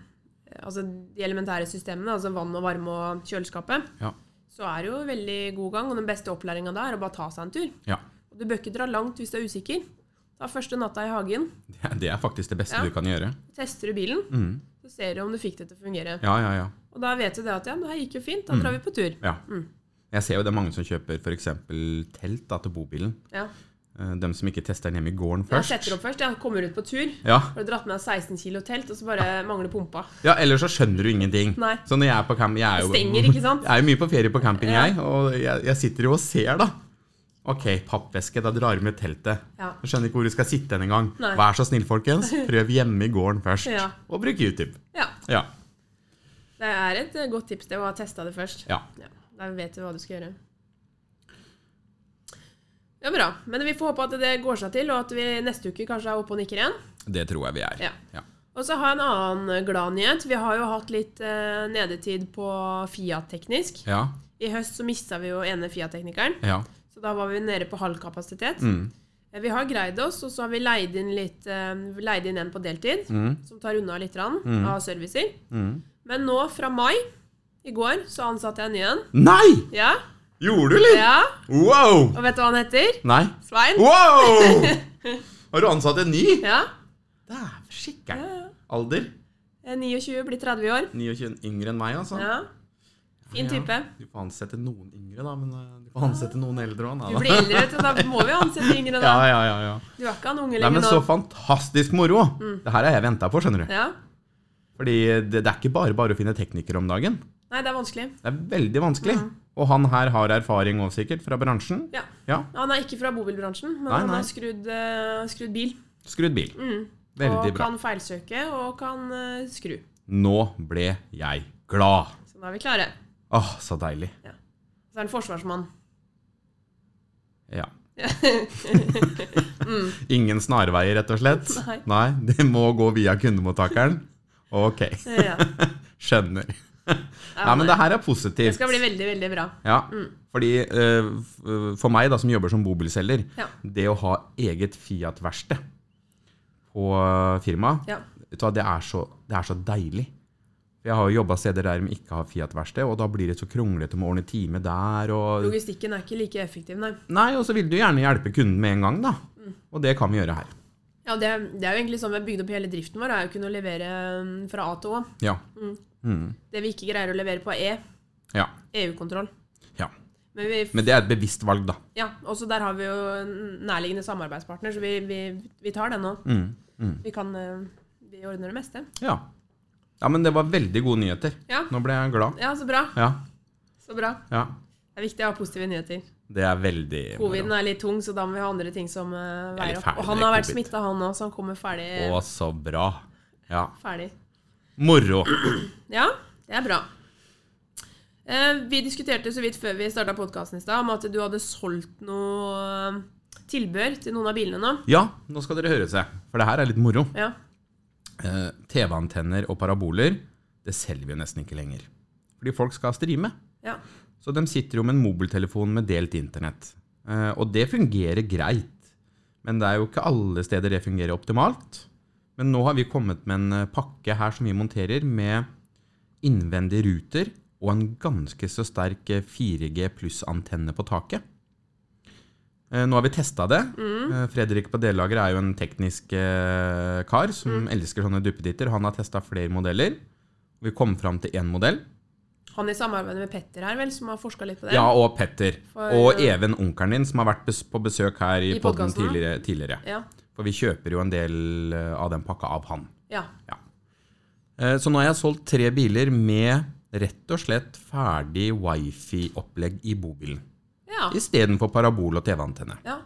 [SPEAKER 2] eh, altså, de elementære systemene, altså vann og varme og kjøleskapet,
[SPEAKER 1] Ja.
[SPEAKER 2] så er det jo veldig god gang. Og den beste opplæringa da er å bare ta seg en tur.
[SPEAKER 1] Ja.
[SPEAKER 2] Og du bør ikke dra langt hvis du er usikker. Ta første natta i hagen,
[SPEAKER 1] Det er- Det er faktisk det beste
[SPEAKER 2] Ja.
[SPEAKER 1] du kan gjøre.
[SPEAKER 2] tester du bilen,
[SPEAKER 1] Mm.
[SPEAKER 2] så ser du om du fikk det til å fungere.
[SPEAKER 1] Ja, ja, ja.
[SPEAKER 2] Og da vet du det at ja, men det her gikk jo fint, da drar vi på tur.
[SPEAKER 1] Mm. ja. Jeg ser jo det er mange som kjøper f.eks. telt da, til bobilen.
[SPEAKER 2] Ja.
[SPEAKER 1] Eh, Dem som ikke tester den hjemme i gården
[SPEAKER 2] Jeg
[SPEAKER 1] først.
[SPEAKER 2] setter opp først, jeg kommer ut på tur.
[SPEAKER 1] Ja.
[SPEAKER 2] Har du dratt med deg 16 kilo telt, og så bare mangler pumpa.
[SPEAKER 1] ja, ellers så skjønner du ingenting.
[SPEAKER 2] Nei.
[SPEAKER 1] Så når jeg er på camp Jeg er jo,
[SPEAKER 2] Stenger, ikke sant?
[SPEAKER 1] Jeg er jo mye på ferie på camping,
[SPEAKER 2] Ja.
[SPEAKER 1] jeg. Og jeg, jeg sitter jo og ser, da. Ok, pappeske, da drar vi med teltet.
[SPEAKER 2] Ja.
[SPEAKER 1] Jeg Skjønner ikke hvor du skal sitte hen engang.
[SPEAKER 2] Nei.
[SPEAKER 1] Vær så snill,
[SPEAKER 2] [laughs]
[SPEAKER 1] folkens. Prøv hjemme i gården først.
[SPEAKER 2] Ja.
[SPEAKER 1] Og bruk YouTube.
[SPEAKER 2] Ja,
[SPEAKER 1] Ja.
[SPEAKER 2] det er et eh, godt tips det å ha testa det først.
[SPEAKER 1] ja.
[SPEAKER 2] Ja, da vet du hva du skal gjøre. Ja, bra. Men vi får håpe at det går seg til, og at vi neste uke kanskje er oppe og nikker igjen.
[SPEAKER 1] Det tror jeg vi er.
[SPEAKER 2] Ja. Og så har jeg en annen glad nyhet. Vi har jo hatt litt eh, nedetid på Fiat-teknisk.
[SPEAKER 1] Ja.
[SPEAKER 2] I høst så mista vi jo ene Fiat-teknikeren,
[SPEAKER 1] ja.
[SPEAKER 2] så da var vi nede på halv kapasitet.
[SPEAKER 1] Mm.
[SPEAKER 2] Eh, Vi har greid oss, og så har vi leid inn, litt, eh, vi leid inn en på deltid,
[SPEAKER 1] Mm.
[SPEAKER 2] som tar unna litt rann, av servicer.
[SPEAKER 1] Mm.
[SPEAKER 2] Men nå, fra mai i går, så ansatte jeg en ny en.
[SPEAKER 1] Nei!
[SPEAKER 2] Ja,
[SPEAKER 1] Gjorde du litt?
[SPEAKER 2] ja.
[SPEAKER 1] Wow!
[SPEAKER 2] Og vet du hva han heter?
[SPEAKER 1] Nei.
[SPEAKER 2] Svein.
[SPEAKER 1] Wow!
[SPEAKER 2] [laughs]
[SPEAKER 1] Har du ansatt en ny?
[SPEAKER 2] Ja.
[SPEAKER 1] Dæven
[SPEAKER 2] ja,
[SPEAKER 1] skikker'n.
[SPEAKER 2] ja.
[SPEAKER 1] Alder?
[SPEAKER 2] Jeg er 29, Eh, blir 30 i år.
[SPEAKER 1] 29 yngre enn meg, altså.
[SPEAKER 2] Ja. Fin
[SPEAKER 1] Ja,
[SPEAKER 2] type.
[SPEAKER 1] Du får ansette noen yngre, da, men eh, du får ansette noen eldre òg,
[SPEAKER 2] Du blir eldre, vet du. Da må vi ansette
[SPEAKER 1] Ja,
[SPEAKER 2] yngre, da.
[SPEAKER 1] ja, ja, ja.
[SPEAKER 2] Du er ikke han unge
[SPEAKER 1] Nei,
[SPEAKER 2] lenger
[SPEAKER 1] men
[SPEAKER 2] nå.
[SPEAKER 1] så fantastisk moro! Det her har jeg venta på, skjønner du.
[SPEAKER 2] Ja.
[SPEAKER 1] Fordi det, det er ikke bare bare å finne teknikere om dagen.
[SPEAKER 2] Nei, det er vanskelig.
[SPEAKER 1] Det er veldig vanskelig.
[SPEAKER 2] Mm.
[SPEAKER 1] Og han her har erfaring òg, sikkert, fra bransjen.
[SPEAKER 2] Ja.
[SPEAKER 1] Ja.
[SPEAKER 2] Han er ikke fra bobilbransjen, men
[SPEAKER 1] Nei,
[SPEAKER 2] han
[SPEAKER 1] nei.
[SPEAKER 2] har skrudd, eh, skrudd bil.
[SPEAKER 1] Skrudd bil.
[SPEAKER 2] Mm.
[SPEAKER 1] Veldig
[SPEAKER 2] og
[SPEAKER 1] bra.
[SPEAKER 2] kan feilsøke og kan eh, skru.
[SPEAKER 1] Nå ble jeg glad.
[SPEAKER 2] Så da er vi klare.
[SPEAKER 1] Åh, så deilig.
[SPEAKER 2] Så er han forsvarsmann.
[SPEAKER 1] [laughs]
[SPEAKER 2] [laughs]
[SPEAKER 1] Ja. Ingen snarveier, rett og slett?
[SPEAKER 2] Mm. Nei.
[SPEAKER 1] Det må gå via kundemottakeren? Ok,
[SPEAKER 2] Ja.
[SPEAKER 1] skjønner. Nei, men det her er
[SPEAKER 2] det
[SPEAKER 1] positivt.
[SPEAKER 2] skal bli veldig, veldig bra.
[SPEAKER 1] Ja,
[SPEAKER 2] Mm.
[SPEAKER 1] fordi eh, f- for meg da, som jobber som bobilselger,
[SPEAKER 2] Ja.
[SPEAKER 1] det å ha eget Fiat-verksted på firmaet,
[SPEAKER 2] Ja.
[SPEAKER 1] vet du hva, det, er så, det er så deilig. Jeg har jo jobba steder der de ikke har Fiat-verksted, og da blir det så kronglete med å ordne time der og
[SPEAKER 2] Logistikken er ikke like effektiv, nei.
[SPEAKER 1] Nei, og så vil du gjerne hjelpe kunden med en gang, da.
[SPEAKER 2] Mm.
[SPEAKER 1] Og det kan vi gjøre her.
[SPEAKER 2] Ja, det, er- det er jo egentlig sånn vi har bygd opp hele driften vår, er jo å kunne levere mm, fra A til Å.
[SPEAKER 1] Ja.
[SPEAKER 2] Det vi ikke greier å levere på E,
[SPEAKER 1] ja.
[SPEAKER 2] EU-kontroll.
[SPEAKER 1] ja.
[SPEAKER 2] Men vi
[SPEAKER 1] Men det er et bevisst valg, da.
[SPEAKER 2] Ja, også der har vi jo en nærliggende samarbeidspartner, så vi, vi, vi tar den nå.
[SPEAKER 1] Mm,
[SPEAKER 2] Vi kan eh, Vi ordner det meste.
[SPEAKER 1] Ja. ja, men det var veldig gode nyheter.
[SPEAKER 2] Ja.
[SPEAKER 1] Nå ble jeg glad.
[SPEAKER 2] Ja, så bra.
[SPEAKER 1] Ja.
[SPEAKER 2] Så bra.
[SPEAKER 1] ja.
[SPEAKER 2] Det er viktig å ha positive nyheter.
[SPEAKER 1] Det er veldig
[SPEAKER 2] Coviden er litt tung, så da må vi ha andre ting som eh,
[SPEAKER 1] Jeg er
[SPEAKER 2] veier
[SPEAKER 1] litt
[SPEAKER 2] opp.
[SPEAKER 1] ferdig
[SPEAKER 2] Og han
[SPEAKER 1] med
[SPEAKER 2] har vært
[SPEAKER 1] covid.
[SPEAKER 2] smitta, han òg, så han kommer ferdig.
[SPEAKER 1] Å, så bra. Ja.
[SPEAKER 2] ferdig.
[SPEAKER 1] Moro.
[SPEAKER 2] Ja, det er bra. Eh, vi diskuterte så vidt før vi starta podkasten i stad, om at du hadde solgt noe eh, tilbør til noen av bilene nå.
[SPEAKER 1] Ja, nå skal dere høre seg, for det her er litt moro.
[SPEAKER 2] Ja.
[SPEAKER 1] Eh, TV-antenner og paraboler, det selger vi jo nesten ikke lenger. Fordi folk skal streame.
[SPEAKER 2] ja.
[SPEAKER 1] Så de sitter jo med en mobiltelefon med delt internett. Eh, og det fungerer greit. Men det er jo ikke alle steder det fungerer optimalt. Men nå har vi kommet med en eh, pakke her som vi monterer, med innvendige ruter og en ganske så sterk eh, 4G pluss-antenne på taket. Eh, Nå har vi testa det. Eh, Fredrik på Delager er jo en teknisk eh, kar som elsker sånne duppeditter. Han har testa flere modeller. Vi kom fram til én modell.
[SPEAKER 2] Han i samarbeid med Petter her, vel, som har forska litt på det?
[SPEAKER 1] Ja, og Petter.
[SPEAKER 2] For- eh,
[SPEAKER 1] og Even, onkelen din, som har vært bes på besøk her i,
[SPEAKER 2] I
[SPEAKER 1] podden
[SPEAKER 2] podcasten, ja.
[SPEAKER 1] tidligere, tidligere.
[SPEAKER 2] Ja.
[SPEAKER 1] For vi kjøper jo en del eh, av den pakka av han.
[SPEAKER 2] ja.
[SPEAKER 1] Eh, Så nå har jeg solgt tre biler med rett og slett ferdig wifi-opplegg i bobilen.
[SPEAKER 2] ja.
[SPEAKER 1] Istedenfor parabol og TV-antenne.
[SPEAKER 2] Ja.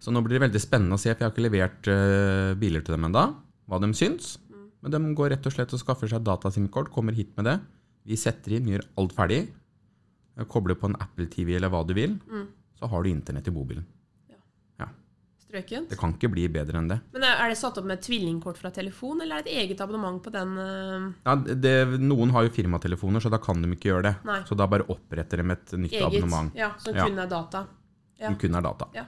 [SPEAKER 1] Så nå blir det veldig spennende å se, for jeg har ikke levert eh, biler til dem enda, hva de syns.
[SPEAKER 2] Mm.
[SPEAKER 1] Men de går rett og slett og skaffer seg datasimkort, kommer hit med det. Vi setter inn, gjør alt ferdig. Eh, Kobler på en Apple TV eller hva du vil.
[SPEAKER 2] Mm.
[SPEAKER 1] Så har du internett i bobilen.
[SPEAKER 2] Strøken.
[SPEAKER 1] Det kan ikke bli bedre enn det.
[SPEAKER 2] Men er er det satt opp med tvillingkort fra telefon, eller er det et eget abonnement på den? eh,
[SPEAKER 1] Ja, det, noen har jo firmatelefoner, så da kan de ikke gjøre det.
[SPEAKER 2] Nei.
[SPEAKER 1] Så da bare oppretter de et nytt
[SPEAKER 2] Eget,
[SPEAKER 1] abonnement
[SPEAKER 2] Ja, som
[SPEAKER 1] Ja.
[SPEAKER 2] kun er data. ja.
[SPEAKER 1] som kun er data.
[SPEAKER 2] Ja.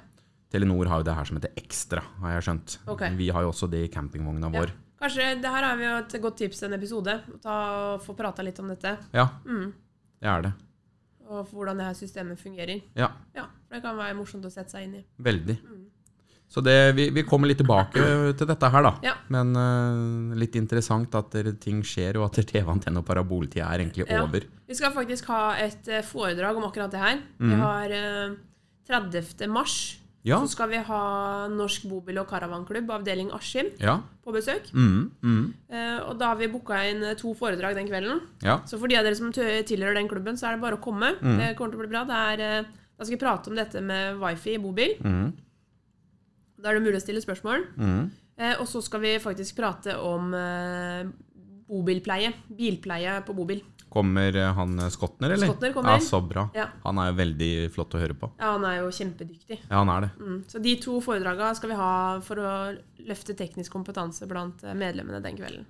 [SPEAKER 1] Telenor har jo det her som heter Ekstra, har jeg skjønt.
[SPEAKER 2] Ok.
[SPEAKER 1] Vi har jo også det i campingvogna
[SPEAKER 2] Ja.
[SPEAKER 1] vår.
[SPEAKER 2] Kanskje, det her har vi jo et godt tips til en episode. å Ta, få prata litt om dette.
[SPEAKER 1] Ja, det er det.
[SPEAKER 2] og for hvordan det her systemet fungerer.
[SPEAKER 1] Ja,
[SPEAKER 2] Ja, for Det kan være morsomt å sette seg inn i.
[SPEAKER 1] veldig.
[SPEAKER 2] Mm.
[SPEAKER 1] Så det, vi, vi kommer litt tilbake til dette her, da.
[SPEAKER 2] Ja.
[SPEAKER 1] Men eh, litt interessant at det- ting skjer, og at TV-antenne og paraboltida er egentlig
[SPEAKER 2] Ja.
[SPEAKER 1] over.
[SPEAKER 2] Vi skal faktisk ha et eh, foredrag om akkurat det her. Vi har eh, 30. mars.
[SPEAKER 1] Mhm. Ja.
[SPEAKER 2] Så skal vi ha Norsk bobil- og karavanklubb, avdeling Askim,
[SPEAKER 1] Ja.
[SPEAKER 2] på besøk.
[SPEAKER 1] Mm, mm,
[SPEAKER 2] Eh, og da har vi booka inn eh, to foredrag den kvelden.
[SPEAKER 1] ja.
[SPEAKER 2] Så for de av dere som tø- tilhører den klubben, så er det bare å komme.
[SPEAKER 1] Mm.
[SPEAKER 2] Det kommer til å bli bra. Det er, eh, da skal vi prate om dette med wifi i bobil.
[SPEAKER 1] Mm.
[SPEAKER 2] Da er det mulig å stille spørsmål.
[SPEAKER 1] Mm.
[SPEAKER 2] Eh, og så skal vi faktisk prate om eh, bobilpleie. Bilpleie på bobil.
[SPEAKER 1] Kommer eh, han eh, Skotner, eller?
[SPEAKER 2] Skotner kommer.
[SPEAKER 1] Ja, så bra.
[SPEAKER 2] Ja.
[SPEAKER 1] Han er jo veldig flott å høre på.
[SPEAKER 2] Ja, han er jo kjempedyktig.
[SPEAKER 1] Ja, han er det.
[SPEAKER 2] Mm. Så de to foredraga skal vi ha for å løfte teknisk kompetanse blant eh, medlemmene den kvelden.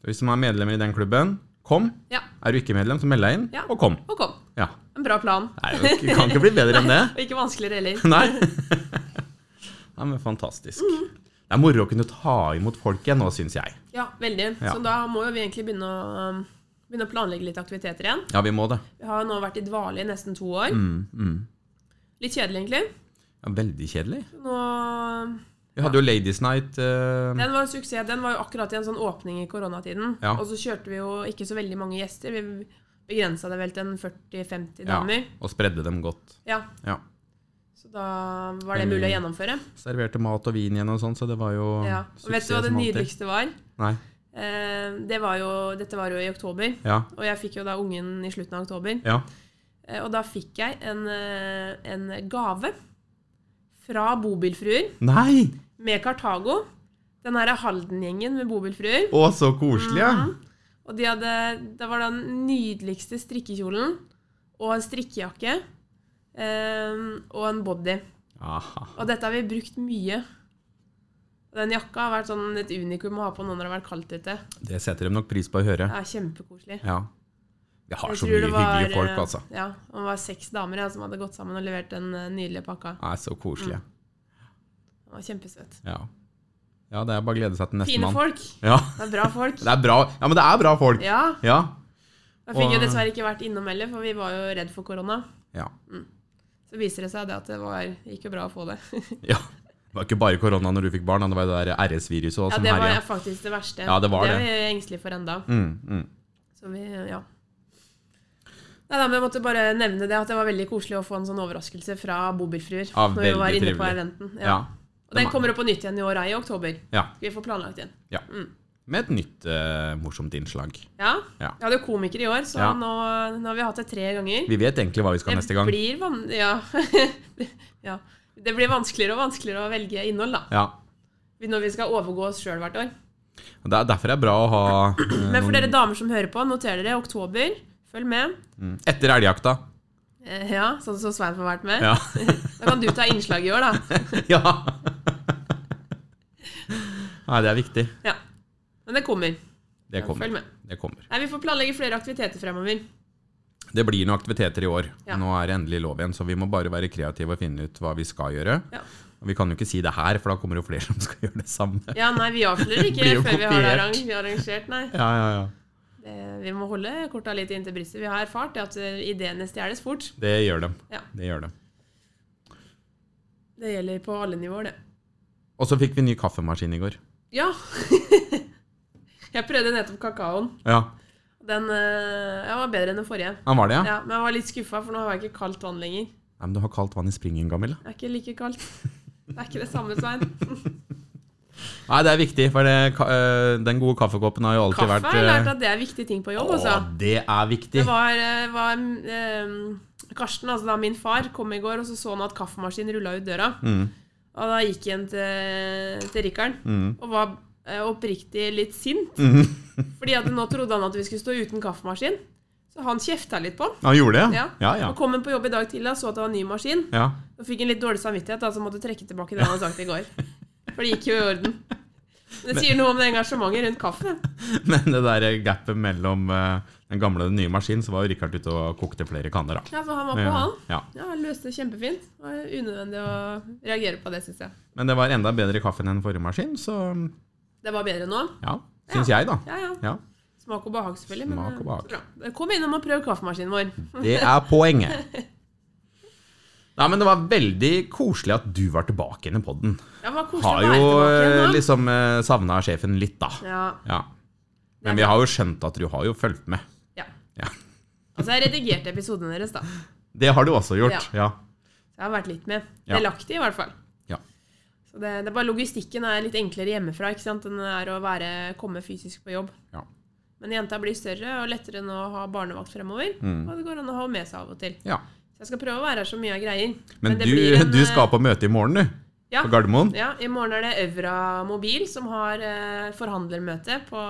[SPEAKER 1] Så Hvis man er medlem i den klubben, kom.
[SPEAKER 2] Ja.
[SPEAKER 1] Er du ikke medlem, så meld deg inn,
[SPEAKER 2] Ja.
[SPEAKER 1] og kom.
[SPEAKER 2] Og kom.
[SPEAKER 1] Ja.
[SPEAKER 2] En bra plan.
[SPEAKER 1] Nei, det kan ikke bli bedre enn det.
[SPEAKER 2] [laughs] Og ikke vanskeligere heller.
[SPEAKER 1] [laughs] Nei. Nei, men fantastisk.
[SPEAKER 2] Mm.
[SPEAKER 1] Det er moro å kunne ta imot folk igjen nå, syns jeg.
[SPEAKER 2] Ja, veldig.
[SPEAKER 1] Ja.
[SPEAKER 2] Så da må jo vi egentlig begynne å, um, begynne å planlegge litt aktiviteter igjen.
[SPEAKER 1] Ja, vi må det.
[SPEAKER 2] Vi har jo nå vært i dvale i nesten to år.
[SPEAKER 1] Mm, mm.
[SPEAKER 2] Litt kjedelig, egentlig.
[SPEAKER 1] Ja, veldig kjedelig.
[SPEAKER 2] Nå,
[SPEAKER 1] Vi hadde jo Ladies Night. eh,
[SPEAKER 2] den var en suksess. Den var jo akkurat i en sånn åpning i koronatiden.
[SPEAKER 1] Ja.
[SPEAKER 2] Og så kjørte vi jo ikke så veldig mange gjester. Vi begrensa det vel til en 40-50
[SPEAKER 1] ja,
[SPEAKER 2] damer.
[SPEAKER 1] og spredde dem godt.
[SPEAKER 2] Ja.
[SPEAKER 1] Ja.
[SPEAKER 2] Så da var det mulig å gjennomføre.
[SPEAKER 1] Serverte mat og vin igjen og sånn, så det var jo
[SPEAKER 2] Ja. Og vet du hva det
[SPEAKER 1] som alltid.
[SPEAKER 2] nydeligste var?
[SPEAKER 1] Nei.
[SPEAKER 2] Eh, det var jo, dette var jo i oktober.
[SPEAKER 1] Ja.
[SPEAKER 2] Og jeg fikk jo da ungen i slutten av oktober.
[SPEAKER 1] Ja.
[SPEAKER 2] Eh, Og da fikk jeg en, eh, en gave fra bobilfruer
[SPEAKER 1] Nei!
[SPEAKER 2] med Kartago. Den her er Halden-gjengen med bobilfruer.
[SPEAKER 1] Å, så koselig, ja.
[SPEAKER 2] Og de hadde, det var den nydeligste strikkekjolen og en strikkejakke eh, og en body.
[SPEAKER 1] Aha.
[SPEAKER 2] Og dette har vi brukt mye. Og Den jakka har vært sånn et unikum å ha på når det har vært kaldt ute.
[SPEAKER 1] Det setter de nok pris på å høre.
[SPEAKER 2] Det er kjempekoselig.
[SPEAKER 1] Ja. Vi har
[SPEAKER 2] Jeg
[SPEAKER 1] så
[SPEAKER 2] tror
[SPEAKER 1] mye
[SPEAKER 2] det var,
[SPEAKER 1] hyggelige folk,
[SPEAKER 2] eh,
[SPEAKER 1] altså.
[SPEAKER 2] Ja, og det var seks damer ja, som hadde gått sammen og levert den eh, nydelige pakka.
[SPEAKER 1] Nei, så
[SPEAKER 2] Mm.
[SPEAKER 1] koselige.
[SPEAKER 2] Den var kjempesøt.
[SPEAKER 1] Ja. ja, det er bare å glede seg til neste
[SPEAKER 2] Fine
[SPEAKER 1] mann.
[SPEAKER 2] folk.
[SPEAKER 1] Ja.
[SPEAKER 2] Det er bra
[SPEAKER 1] [laughs]
[SPEAKER 2] folk.
[SPEAKER 1] Det er bra. ja, men det er bra folk.
[SPEAKER 2] Ja.
[SPEAKER 1] Ja.
[SPEAKER 2] Jeg fikk jo
[SPEAKER 1] Og-
[SPEAKER 2] dessverre ikke vært innom heller, for vi var jo redd for korona.
[SPEAKER 1] Ja.
[SPEAKER 2] Så viser det seg det at det var, gikk jo bra å få det.
[SPEAKER 1] ja. Det var ikke bare korona når du fikk barn, det var jo det der RS-viruset òg
[SPEAKER 2] Ja,
[SPEAKER 1] som
[SPEAKER 2] det var
[SPEAKER 1] herja.
[SPEAKER 2] faktisk det
[SPEAKER 1] sånn
[SPEAKER 2] verste.
[SPEAKER 1] Ja, det var
[SPEAKER 2] er
[SPEAKER 1] det.
[SPEAKER 2] vi engstelige for enda.
[SPEAKER 1] Mm, mm.
[SPEAKER 2] Så vi, ja. Nei, da, men jeg måtte bare nevne det, at det var veldig koselig å få en sånn overraskelse fra bobilfruer.
[SPEAKER 1] Ja,
[SPEAKER 2] når vi
[SPEAKER 1] veldig
[SPEAKER 2] var inne på
[SPEAKER 1] trivelig.
[SPEAKER 2] eventen. Ja.
[SPEAKER 1] Ja.
[SPEAKER 2] Og den kommer opp på nytt igjen i år, ei, i oktober.
[SPEAKER 1] Ja.
[SPEAKER 2] Skal vi få planlagt igjen.
[SPEAKER 1] ja. Med et nytt eh, morsomt innslag.
[SPEAKER 2] Ja.
[SPEAKER 1] Ja.
[SPEAKER 2] Vi hadde jo komikere i år, så
[SPEAKER 1] Ja.
[SPEAKER 2] nå, nå har vi hatt det tre ganger.
[SPEAKER 1] Vi vet egentlig hva vi skal
[SPEAKER 2] Det
[SPEAKER 1] neste gang.
[SPEAKER 2] Blir van ja. [laughs] ja. Det blir vanskeligere og vanskeligere å velge innhold, da.
[SPEAKER 1] Ja.
[SPEAKER 2] Når vi skal overgå oss sjøl hvert år.
[SPEAKER 1] Og Det er derfor det er bra å ha eh,
[SPEAKER 2] Men for dere damer som hører på, noter dere oktober. Følg med.
[SPEAKER 1] noen- mm, etter elgjakta.
[SPEAKER 2] Eh, Ja, sånn som Svein får vært med.
[SPEAKER 1] Ja.
[SPEAKER 2] [laughs] Da kan du ta innslag i år, da.
[SPEAKER 1] ja. [laughs] Nei, det er viktig.
[SPEAKER 2] Ja. Men det kommer.
[SPEAKER 1] Det
[SPEAKER 2] Ja, følg
[SPEAKER 1] kommer.
[SPEAKER 2] med.
[SPEAKER 1] Det kommer.
[SPEAKER 2] Nei, Vi får planlegge flere aktiviteter fremover.
[SPEAKER 1] Det blir noen aktiviteter i år.
[SPEAKER 2] Ja.
[SPEAKER 1] Nå er det endelig lov igjen, så vi må bare være kreative og finne ut hva vi skal gjøre.
[SPEAKER 2] Ja.
[SPEAKER 1] Og vi kan jo ikke si det her, for da kommer det jo flere som skal [laughs] gjøre det samme.
[SPEAKER 2] Ja, nei, vi
[SPEAKER 1] [laughs]
[SPEAKER 2] avslører ikke
[SPEAKER 1] Blir jo
[SPEAKER 2] før vi har det
[SPEAKER 1] kopiert.
[SPEAKER 2] arrang- vi har arrangert, nei.
[SPEAKER 1] Ja, ja, ja.
[SPEAKER 2] Det, vi må holde korta litt inntil brystet. Vi har erfart det at eh, ideene stjeles fort.
[SPEAKER 1] Det gjør de.
[SPEAKER 2] Ja.
[SPEAKER 1] Det gjør de.
[SPEAKER 2] Det gjelder på alle nivåer, det.
[SPEAKER 1] Og så fikk vi ny kaffemaskin i går.
[SPEAKER 2] Ja. [laughs] Jeg prøvde nettopp kakaoen.
[SPEAKER 1] Ja,
[SPEAKER 2] Den eh, ja, var bedre enn den forrige.
[SPEAKER 1] han var det, ja?
[SPEAKER 2] Ja, Men jeg var litt skuffa, for nå har jeg ikke kaldt vann lenger.
[SPEAKER 1] Nei, men du har kaldt vann i springen, Gamilla.
[SPEAKER 2] Det er ikke like kaldt. Det er ikke det samme,
[SPEAKER 1] [laughs]
[SPEAKER 2] Svein.
[SPEAKER 1] Nei, det er viktig, for det, ka- øh, den gode kaffekoppen har jo alltid
[SPEAKER 2] Kaffe
[SPEAKER 1] vært
[SPEAKER 2] har jeg
[SPEAKER 1] øh,
[SPEAKER 2] lært at det er viktige ting på jobb, altså.
[SPEAKER 1] Å, det er viktig.
[SPEAKER 2] Det var, eh, var eh, Karsten, altså da min far, kom i går, og så så han at kaffemaskinen rulla ut døra.
[SPEAKER 1] Mm.
[SPEAKER 2] Og da gikk han til, til Rikard
[SPEAKER 1] Mm.
[SPEAKER 2] og var eh, oppriktig litt sint.
[SPEAKER 1] [laughs]
[SPEAKER 2] Fordi at nå trodde han at vi skulle stå uten kaffemaskin. Så han kjefta litt på han.
[SPEAKER 1] Han gjorde det, ja?
[SPEAKER 2] Ja.
[SPEAKER 1] Ah, Ja, ja.
[SPEAKER 2] Og kom han på jobb i dag tidlig og så at det var en ny maskin.
[SPEAKER 1] ja. [laughs]
[SPEAKER 2] Da fikk han litt dårlig samvittighet, da, så måtte trekke tilbake det han hadde sagt i går. For det gikk jo i orden. Men det sier noe om det engasjementet rundt kaffe.
[SPEAKER 1] Men det der gapet mellom øh, den gamle og den nye maskinen, så var jo Richard ute og kokte flere kanner, da.
[SPEAKER 2] Ja, for han var på han.
[SPEAKER 1] Ja.
[SPEAKER 2] Ja, han løste det kjempefint. Det var unødvendig å reagere på det, syns jeg.
[SPEAKER 1] Men det var enda bedre kaffe enn den forrige maskinen, så
[SPEAKER 2] Det var bedre nå.
[SPEAKER 1] ja, syns jeg, da.
[SPEAKER 2] Ja, ja.
[SPEAKER 1] Ja.
[SPEAKER 2] Smak og behag, selvfølgelig. men,
[SPEAKER 1] Smak og
[SPEAKER 2] eh,
[SPEAKER 1] behag.
[SPEAKER 2] bra. Kom innom og prøv kaffemaskinen vår.
[SPEAKER 1] Det er
[SPEAKER 2] [laughs]
[SPEAKER 1] poenget. Nei, men Det var veldig koselig at du var tilbake igjen i podden.
[SPEAKER 2] Det var koselig
[SPEAKER 1] Har
[SPEAKER 2] å være
[SPEAKER 1] jo
[SPEAKER 2] tilbake
[SPEAKER 1] eh,
[SPEAKER 2] igjen nå.
[SPEAKER 1] liksom savna sjefen litt, da.
[SPEAKER 2] Ja,
[SPEAKER 1] Ja. Men vi har jo skjønt at du har jo fulgt med.
[SPEAKER 2] ja.
[SPEAKER 1] Ja.
[SPEAKER 2] Altså, jeg redigerte episodene deres, da. Så
[SPEAKER 1] Det har du også gjort. Ja.
[SPEAKER 2] jeg har vært litt med.
[SPEAKER 1] Ja.
[SPEAKER 2] Delaktig, i hvert fall.
[SPEAKER 1] Ja.
[SPEAKER 2] Så det, det er bare logistikken er litt enklere hjemmefra ikke sant, enn det er å være, komme fysisk på jobb.
[SPEAKER 1] Ja.
[SPEAKER 2] Men jenta blir større og lettere nå å ha barnevakt fremover.
[SPEAKER 1] Mm.
[SPEAKER 2] Og det går an å ha med seg av og til.
[SPEAKER 1] Ja.
[SPEAKER 2] Så jeg skal prøve å være her så mye jeg greier.
[SPEAKER 1] Men,
[SPEAKER 2] det
[SPEAKER 1] du,
[SPEAKER 2] blir en, eh,
[SPEAKER 1] du skal på møte i morgen, du.
[SPEAKER 2] ja,
[SPEAKER 1] På Gardermoen.
[SPEAKER 2] ja, i morgen er det Øvra Mobil som har eh, forhandlermøte på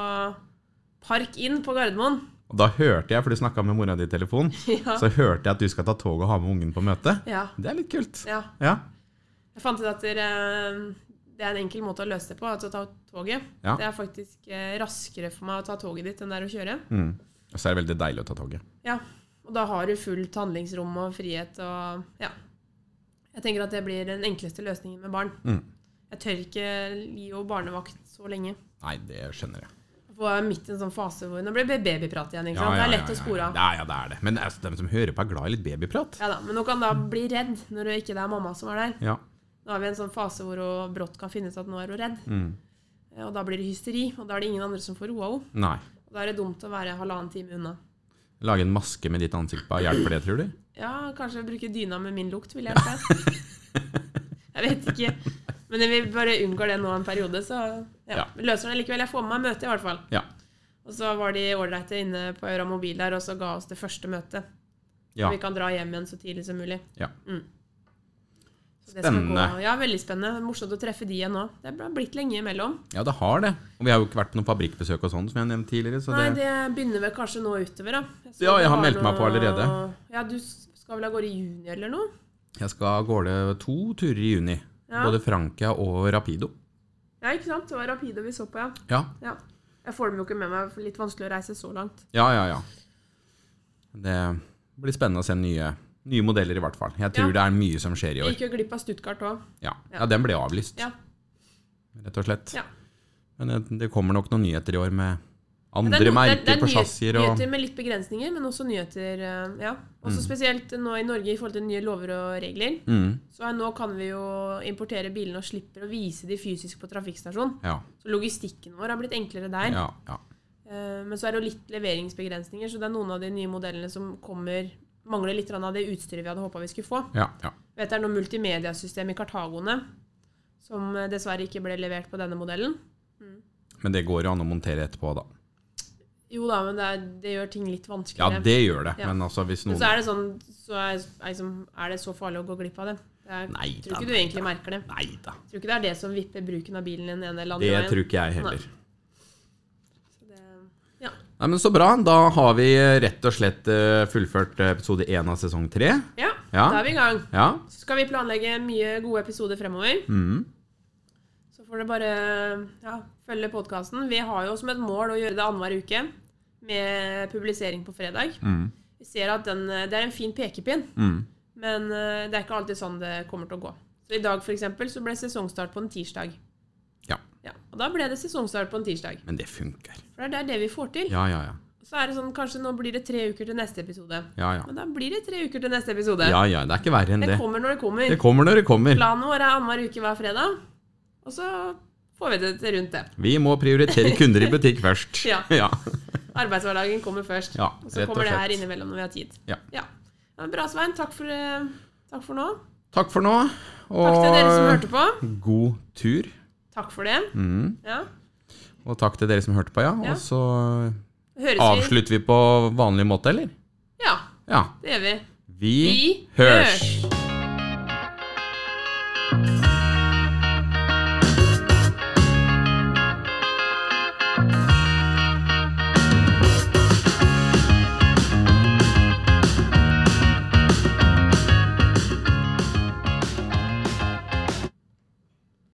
[SPEAKER 2] Park Inn på Gardermoen. [laughs]
[SPEAKER 1] Og da hørte jeg, for du snakka med mora di i telefonen,
[SPEAKER 2] Ja.
[SPEAKER 1] så hørte jeg at du skal ta tog og ha med ungen på møte.
[SPEAKER 2] Ja.
[SPEAKER 1] Det er litt kult.
[SPEAKER 2] ja.
[SPEAKER 1] Ja.
[SPEAKER 2] Jeg fant ut at dere, eh, det er en enkel måte å løse det på, altså å ta toget.
[SPEAKER 1] Ja.
[SPEAKER 2] Det er faktisk eh, raskere for meg å ta toget ditt enn det er å kjøre.
[SPEAKER 1] Mm. Og så er det veldig deilig å ta toget.
[SPEAKER 2] Ja, og da har du fullt handlingsrom og frihet og ja. Jeg tenker at det blir den enkleste løsningen med barn.
[SPEAKER 1] Mm.
[SPEAKER 2] Jeg tør ikke gi henne barnevakt så lenge.
[SPEAKER 1] Nei, det skjønner jeg.
[SPEAKER 2] For jeg er midt i en sånn fase hvor Nå blir det babyprat igjen, ikke sant? det er lett å spore av.
[SPEAKER 1] Ja, ja, det er det. Men altså, de som hører på, er glad i litt babyprat.
[SPEAKER 2] Ja da, men hun kan da bli redd når det ikke er mamma som er der.
[SPEAKER 1] Ja.
[SPEAKER 2] Nå er vi i en sånn fase hvor hun brått kan finne ut at nå er hun redd.
[SPEAKER 1] Mm.
[SPEAKER 2] Eh, Og da blir det hysteri, og da er det ingen andre som får roa henne.
[SPEAKER 1] Nei.
[SPEAKER 2] Og Da er det dumt å være halvannen time unna.
[SPEAKER 1] Lage en maske med ditt ansikt på. Hjelper det, tror du?
[SPEAKER 2] Ja, kanskje bruke dyna med min lukt, vil jeg si.
[SPEAKER 1] [laughs]
[SPEAKER 2] Jeg vet ikke. Men vi bare unngår det nå en periode, så ja.
[SPEAKER 1] Ja.
[SPEAKER 2] Vi Løser det likevel. Jeg får med meg møtet, i hvert fall.
[SPEAKER 1] Ja.
[SPEAKER 2] Og så var de ålreite inne på Øra Mobil der, og så ga oss det første møtet.
[SPEAKER 1] Ja.
[SPEAKER 2] Vi kan dra hjem igjen så tidlig som mulig.
[SPEAKER 1] Ja.
[SPEAKER 2] Mm. Så det skal
[SPEAKER 1] Spennende.
[SPEAKER 2] gå- Ja, veldig spennende. Morsomt å treffe de igjen nå. Det har blitt lenge imellom.
[SPEAKER 1] ja, det har det. Og vi har jo ikke vært på noen fabrikkbesøk og sånn, som jeg nevnte tidligere. Så
[SPEAKER 2] Nei,
[SPEAKER 1] det...
[SPEAKER 2] det begynner vel kanskje nå utover, da. så
[SPEAKER 1] Ja,
[SPEAKER 2] det
[SPEAKER 1] jeg har
[SPEAKER 2] var
[SPEAKER 1] meldt meg på allerede.
[SPEAKER 2] Ja, du s- skal vel av gårde i juni eller noe?
[SPEAKER 1] Jeg skal av gårde to turer i juni.
[SPEAKER 2] Ja.
[SPEAKER 1] Både Frankia og Rapido.
[SPEAKER 2] Ja, ikke sant? Det var Rapido vi så på, ja.
[SPEAKER 1] Ja,
[SPEAKER 2] Ja. Jeg får dem jo ikke med meg, for det er litt vanskelig å reise så langt.
[SPEAKER 1] ja, ja. ja. Det blir spennende å se nye, nye modeller, i hvert fall. Jeg tror
[SPEAKER 2] Ja.
[SPEAKER 1] det er mye som skjer i
[SPEAKER 2] Vi
[SPEAKER 1] år.
[SPEAKER 2] gikk jo glipp av Stuttgart òg.
[SPEAKER 1] Ja,
[SPEAKER 2] Ja.
[SPEAKER 1] ja den ble avlyst,
[SPEAKER 2] Ja.
[SPEAKER 1] rett og slett.
[SPEAKER 2] Ja.
[SPEAKER 1] Men det, det kommer nok noen nyheter i år med
[SPEAKER 2] Det er
[SPEAKER 1] andre
[SPEAKER 2] no- det er- det er
[SPEAKER 1] merker på
[SPEAKER 2] nyhet-
[SPEAKER 1] chassiser og
[SPEAKER 2] Nyheter med litt begrensninger, men også nyheter eh, Ja. Også spesielt nå i Norge i forhold til nye lover og regler.
[SPEAKER 1] mm,
[SPEAKER 2] Så her nå kan vi jo importere bilene og slipper å vise de fysisk på trafikkstasjon.
[SPEAKER 1] ja,
[SPEAKER 2] Så logistikken vår har blitt enklere der.
[SPEAKER 1] ja, ja.
[SPEAKER 2] Eh, Men så er det jo litt leveringsbegrensninger, så det er noen av de nye modellene som kommer Mangler litt grann av det utstyret vi hadde håpa vi skulle få.
[SPEAKER 1] ja, ja.
[SPEAKER 2] vet det er noe multimediasystem i Kartagone som eh, dessverre ikke ble levert på denne modellen.
[SPEAKER 1] Men det går jo an å montere etterpå, da.
[SPEAKER 2] Jo da, men det, er, det gjør ting litt
[SPEAKER 1] Ja,
[SPEAKER 2] vanskeligere.
[SPEAKER 1] det gjør det.
[SPEAKER 2] Ja.
[SPEAKER 1] Men altså, hvis
[SPEAKER 2] men
[SPEAKER 1] noen
[SPEAKER 2] så er det sånn så er, er, liksom, er det så farlig å gå glipp av det? Jeg
[SPEAKER 1] Nei
[SPEAKER 2] tror
[SPEAKER 1] da,
[SPEAKER 2] ikke du
[SPEAKER 1] nei
[SPEAKER 2] egentlig merker det.
[SPEAKER 1] Nei da.
[SPEAKER 2] Jeg tror ikke det er det som vipper bruken av bilen din ene eller
[SPEAKER 1] Det
[SPEAKER 2] andre
[SPEAKER 1] tror ikke jeg heller.
[SPEAKER 2] Nei. Så det- Ja.
[SPEAKER 1] Nei, men Så bra. Da har vi rett og slett eh, fullført episode én av sesong tre.
[SPEAKER 2] Ja,
[SPEAKER 1] Ja.
[SPEAKER 2] da er vi i gang.
[SPEAKER 1] Ja.
[SPEAKER 2] Så skal vi planlegge mye gode episoder fremover.
[SPEAKER 1] Mm.
[SPEAKER 2] Så får dere bare ja, følge podkasten. Vi har jo som et mål å gjøre det annenhver uke med publisering på fredag.
[SPEAKER 1] Mm.
[SPEAKER 2] Vi ser at den, eh, Det er en fin pekepinn,
[SPEAKER 1] Mm.
[SPEAKER 2] men eh, det er ikke alltid sånn det kommer til å gå. Så I dag for eksempel, så ble sesongstart på en tirsdag.
[SPEAKER 1] Ja.
[SPEAKER 2] Ja, og Da ble det sesongstart på en tirsdag.
[SPEAKER 1] Men det funker.
[SPEAKER 2] For det er det vi får til.
[SPEAKER 1] Ja, ja, ja.
[SPEAKER 2] Så er det sånn, Kanskje nå blir det tre uker til neste episode.
[SPEAKER 1] Ja, ja.
[SPEAKER 2] Men da blir det tre uker til neste episode.
[SPEAKER 1] ja, ja. Det er ikke verre enn
[SPEAKER 2] det
[SPEAKER 1] det.
[SPEAKER 2] kommer når det kommer.
[SPEAKER 1] Det kommer når det kommer.
[SPEAKER 2] Planen vår er annenhver uke hver fredag. Og så får vi det til rundt det.
[SPEAKER 1] Vi må prioritere kunder i butikk først.
[SPEAKER 2] [laughs] Ja.
[SPEAKER 1] ja.
[SPEAKER 2] Arbeidshverdagen kommer først.
[SPEAKER 1] Ja,
[SPEAKER 2] og
[SPEAKER 1] rett
[SPEAKER 2] så
[SPEAKER 1] og
[SPEAKER 2] kommer det her
[SPEAKER 1] slett.
[SPEAKER 2] innimellom når vi har tid.
[SPEAKER 1] Ja.
[SPEAKER 2] Ja, men bra, Svein. Takk for, eh, takk for nå.
[SPEAKER 1] Takk for nå. Og
[SPEAKER 2] Takk til dere som hørte på.
[SPEAKER 1] god tur.
[SPEAKER 2] Takk for det.
[SPEAKER 1] Mm.
[SPEAKER 2] Ja.
[SPEAKER 1] Og takk til dere som hørte på, ja.
[SPEAKER 2] Ja.
[SPEAKER 1] Og så
[SPEAKER 2] Høres vi?
[SPEAKER 1] avslutter vi på vanlig måte, eller?
[SPEAKER 2] Ja,
[SPEAKER 1] Ja.
[SPEAKER 2] det gjør vi.
[SPEAKER 1] Vi,
[SPEAKER 2] Vi
[SPEAKER 1] hørs.
[SPEAKER 2] hørs.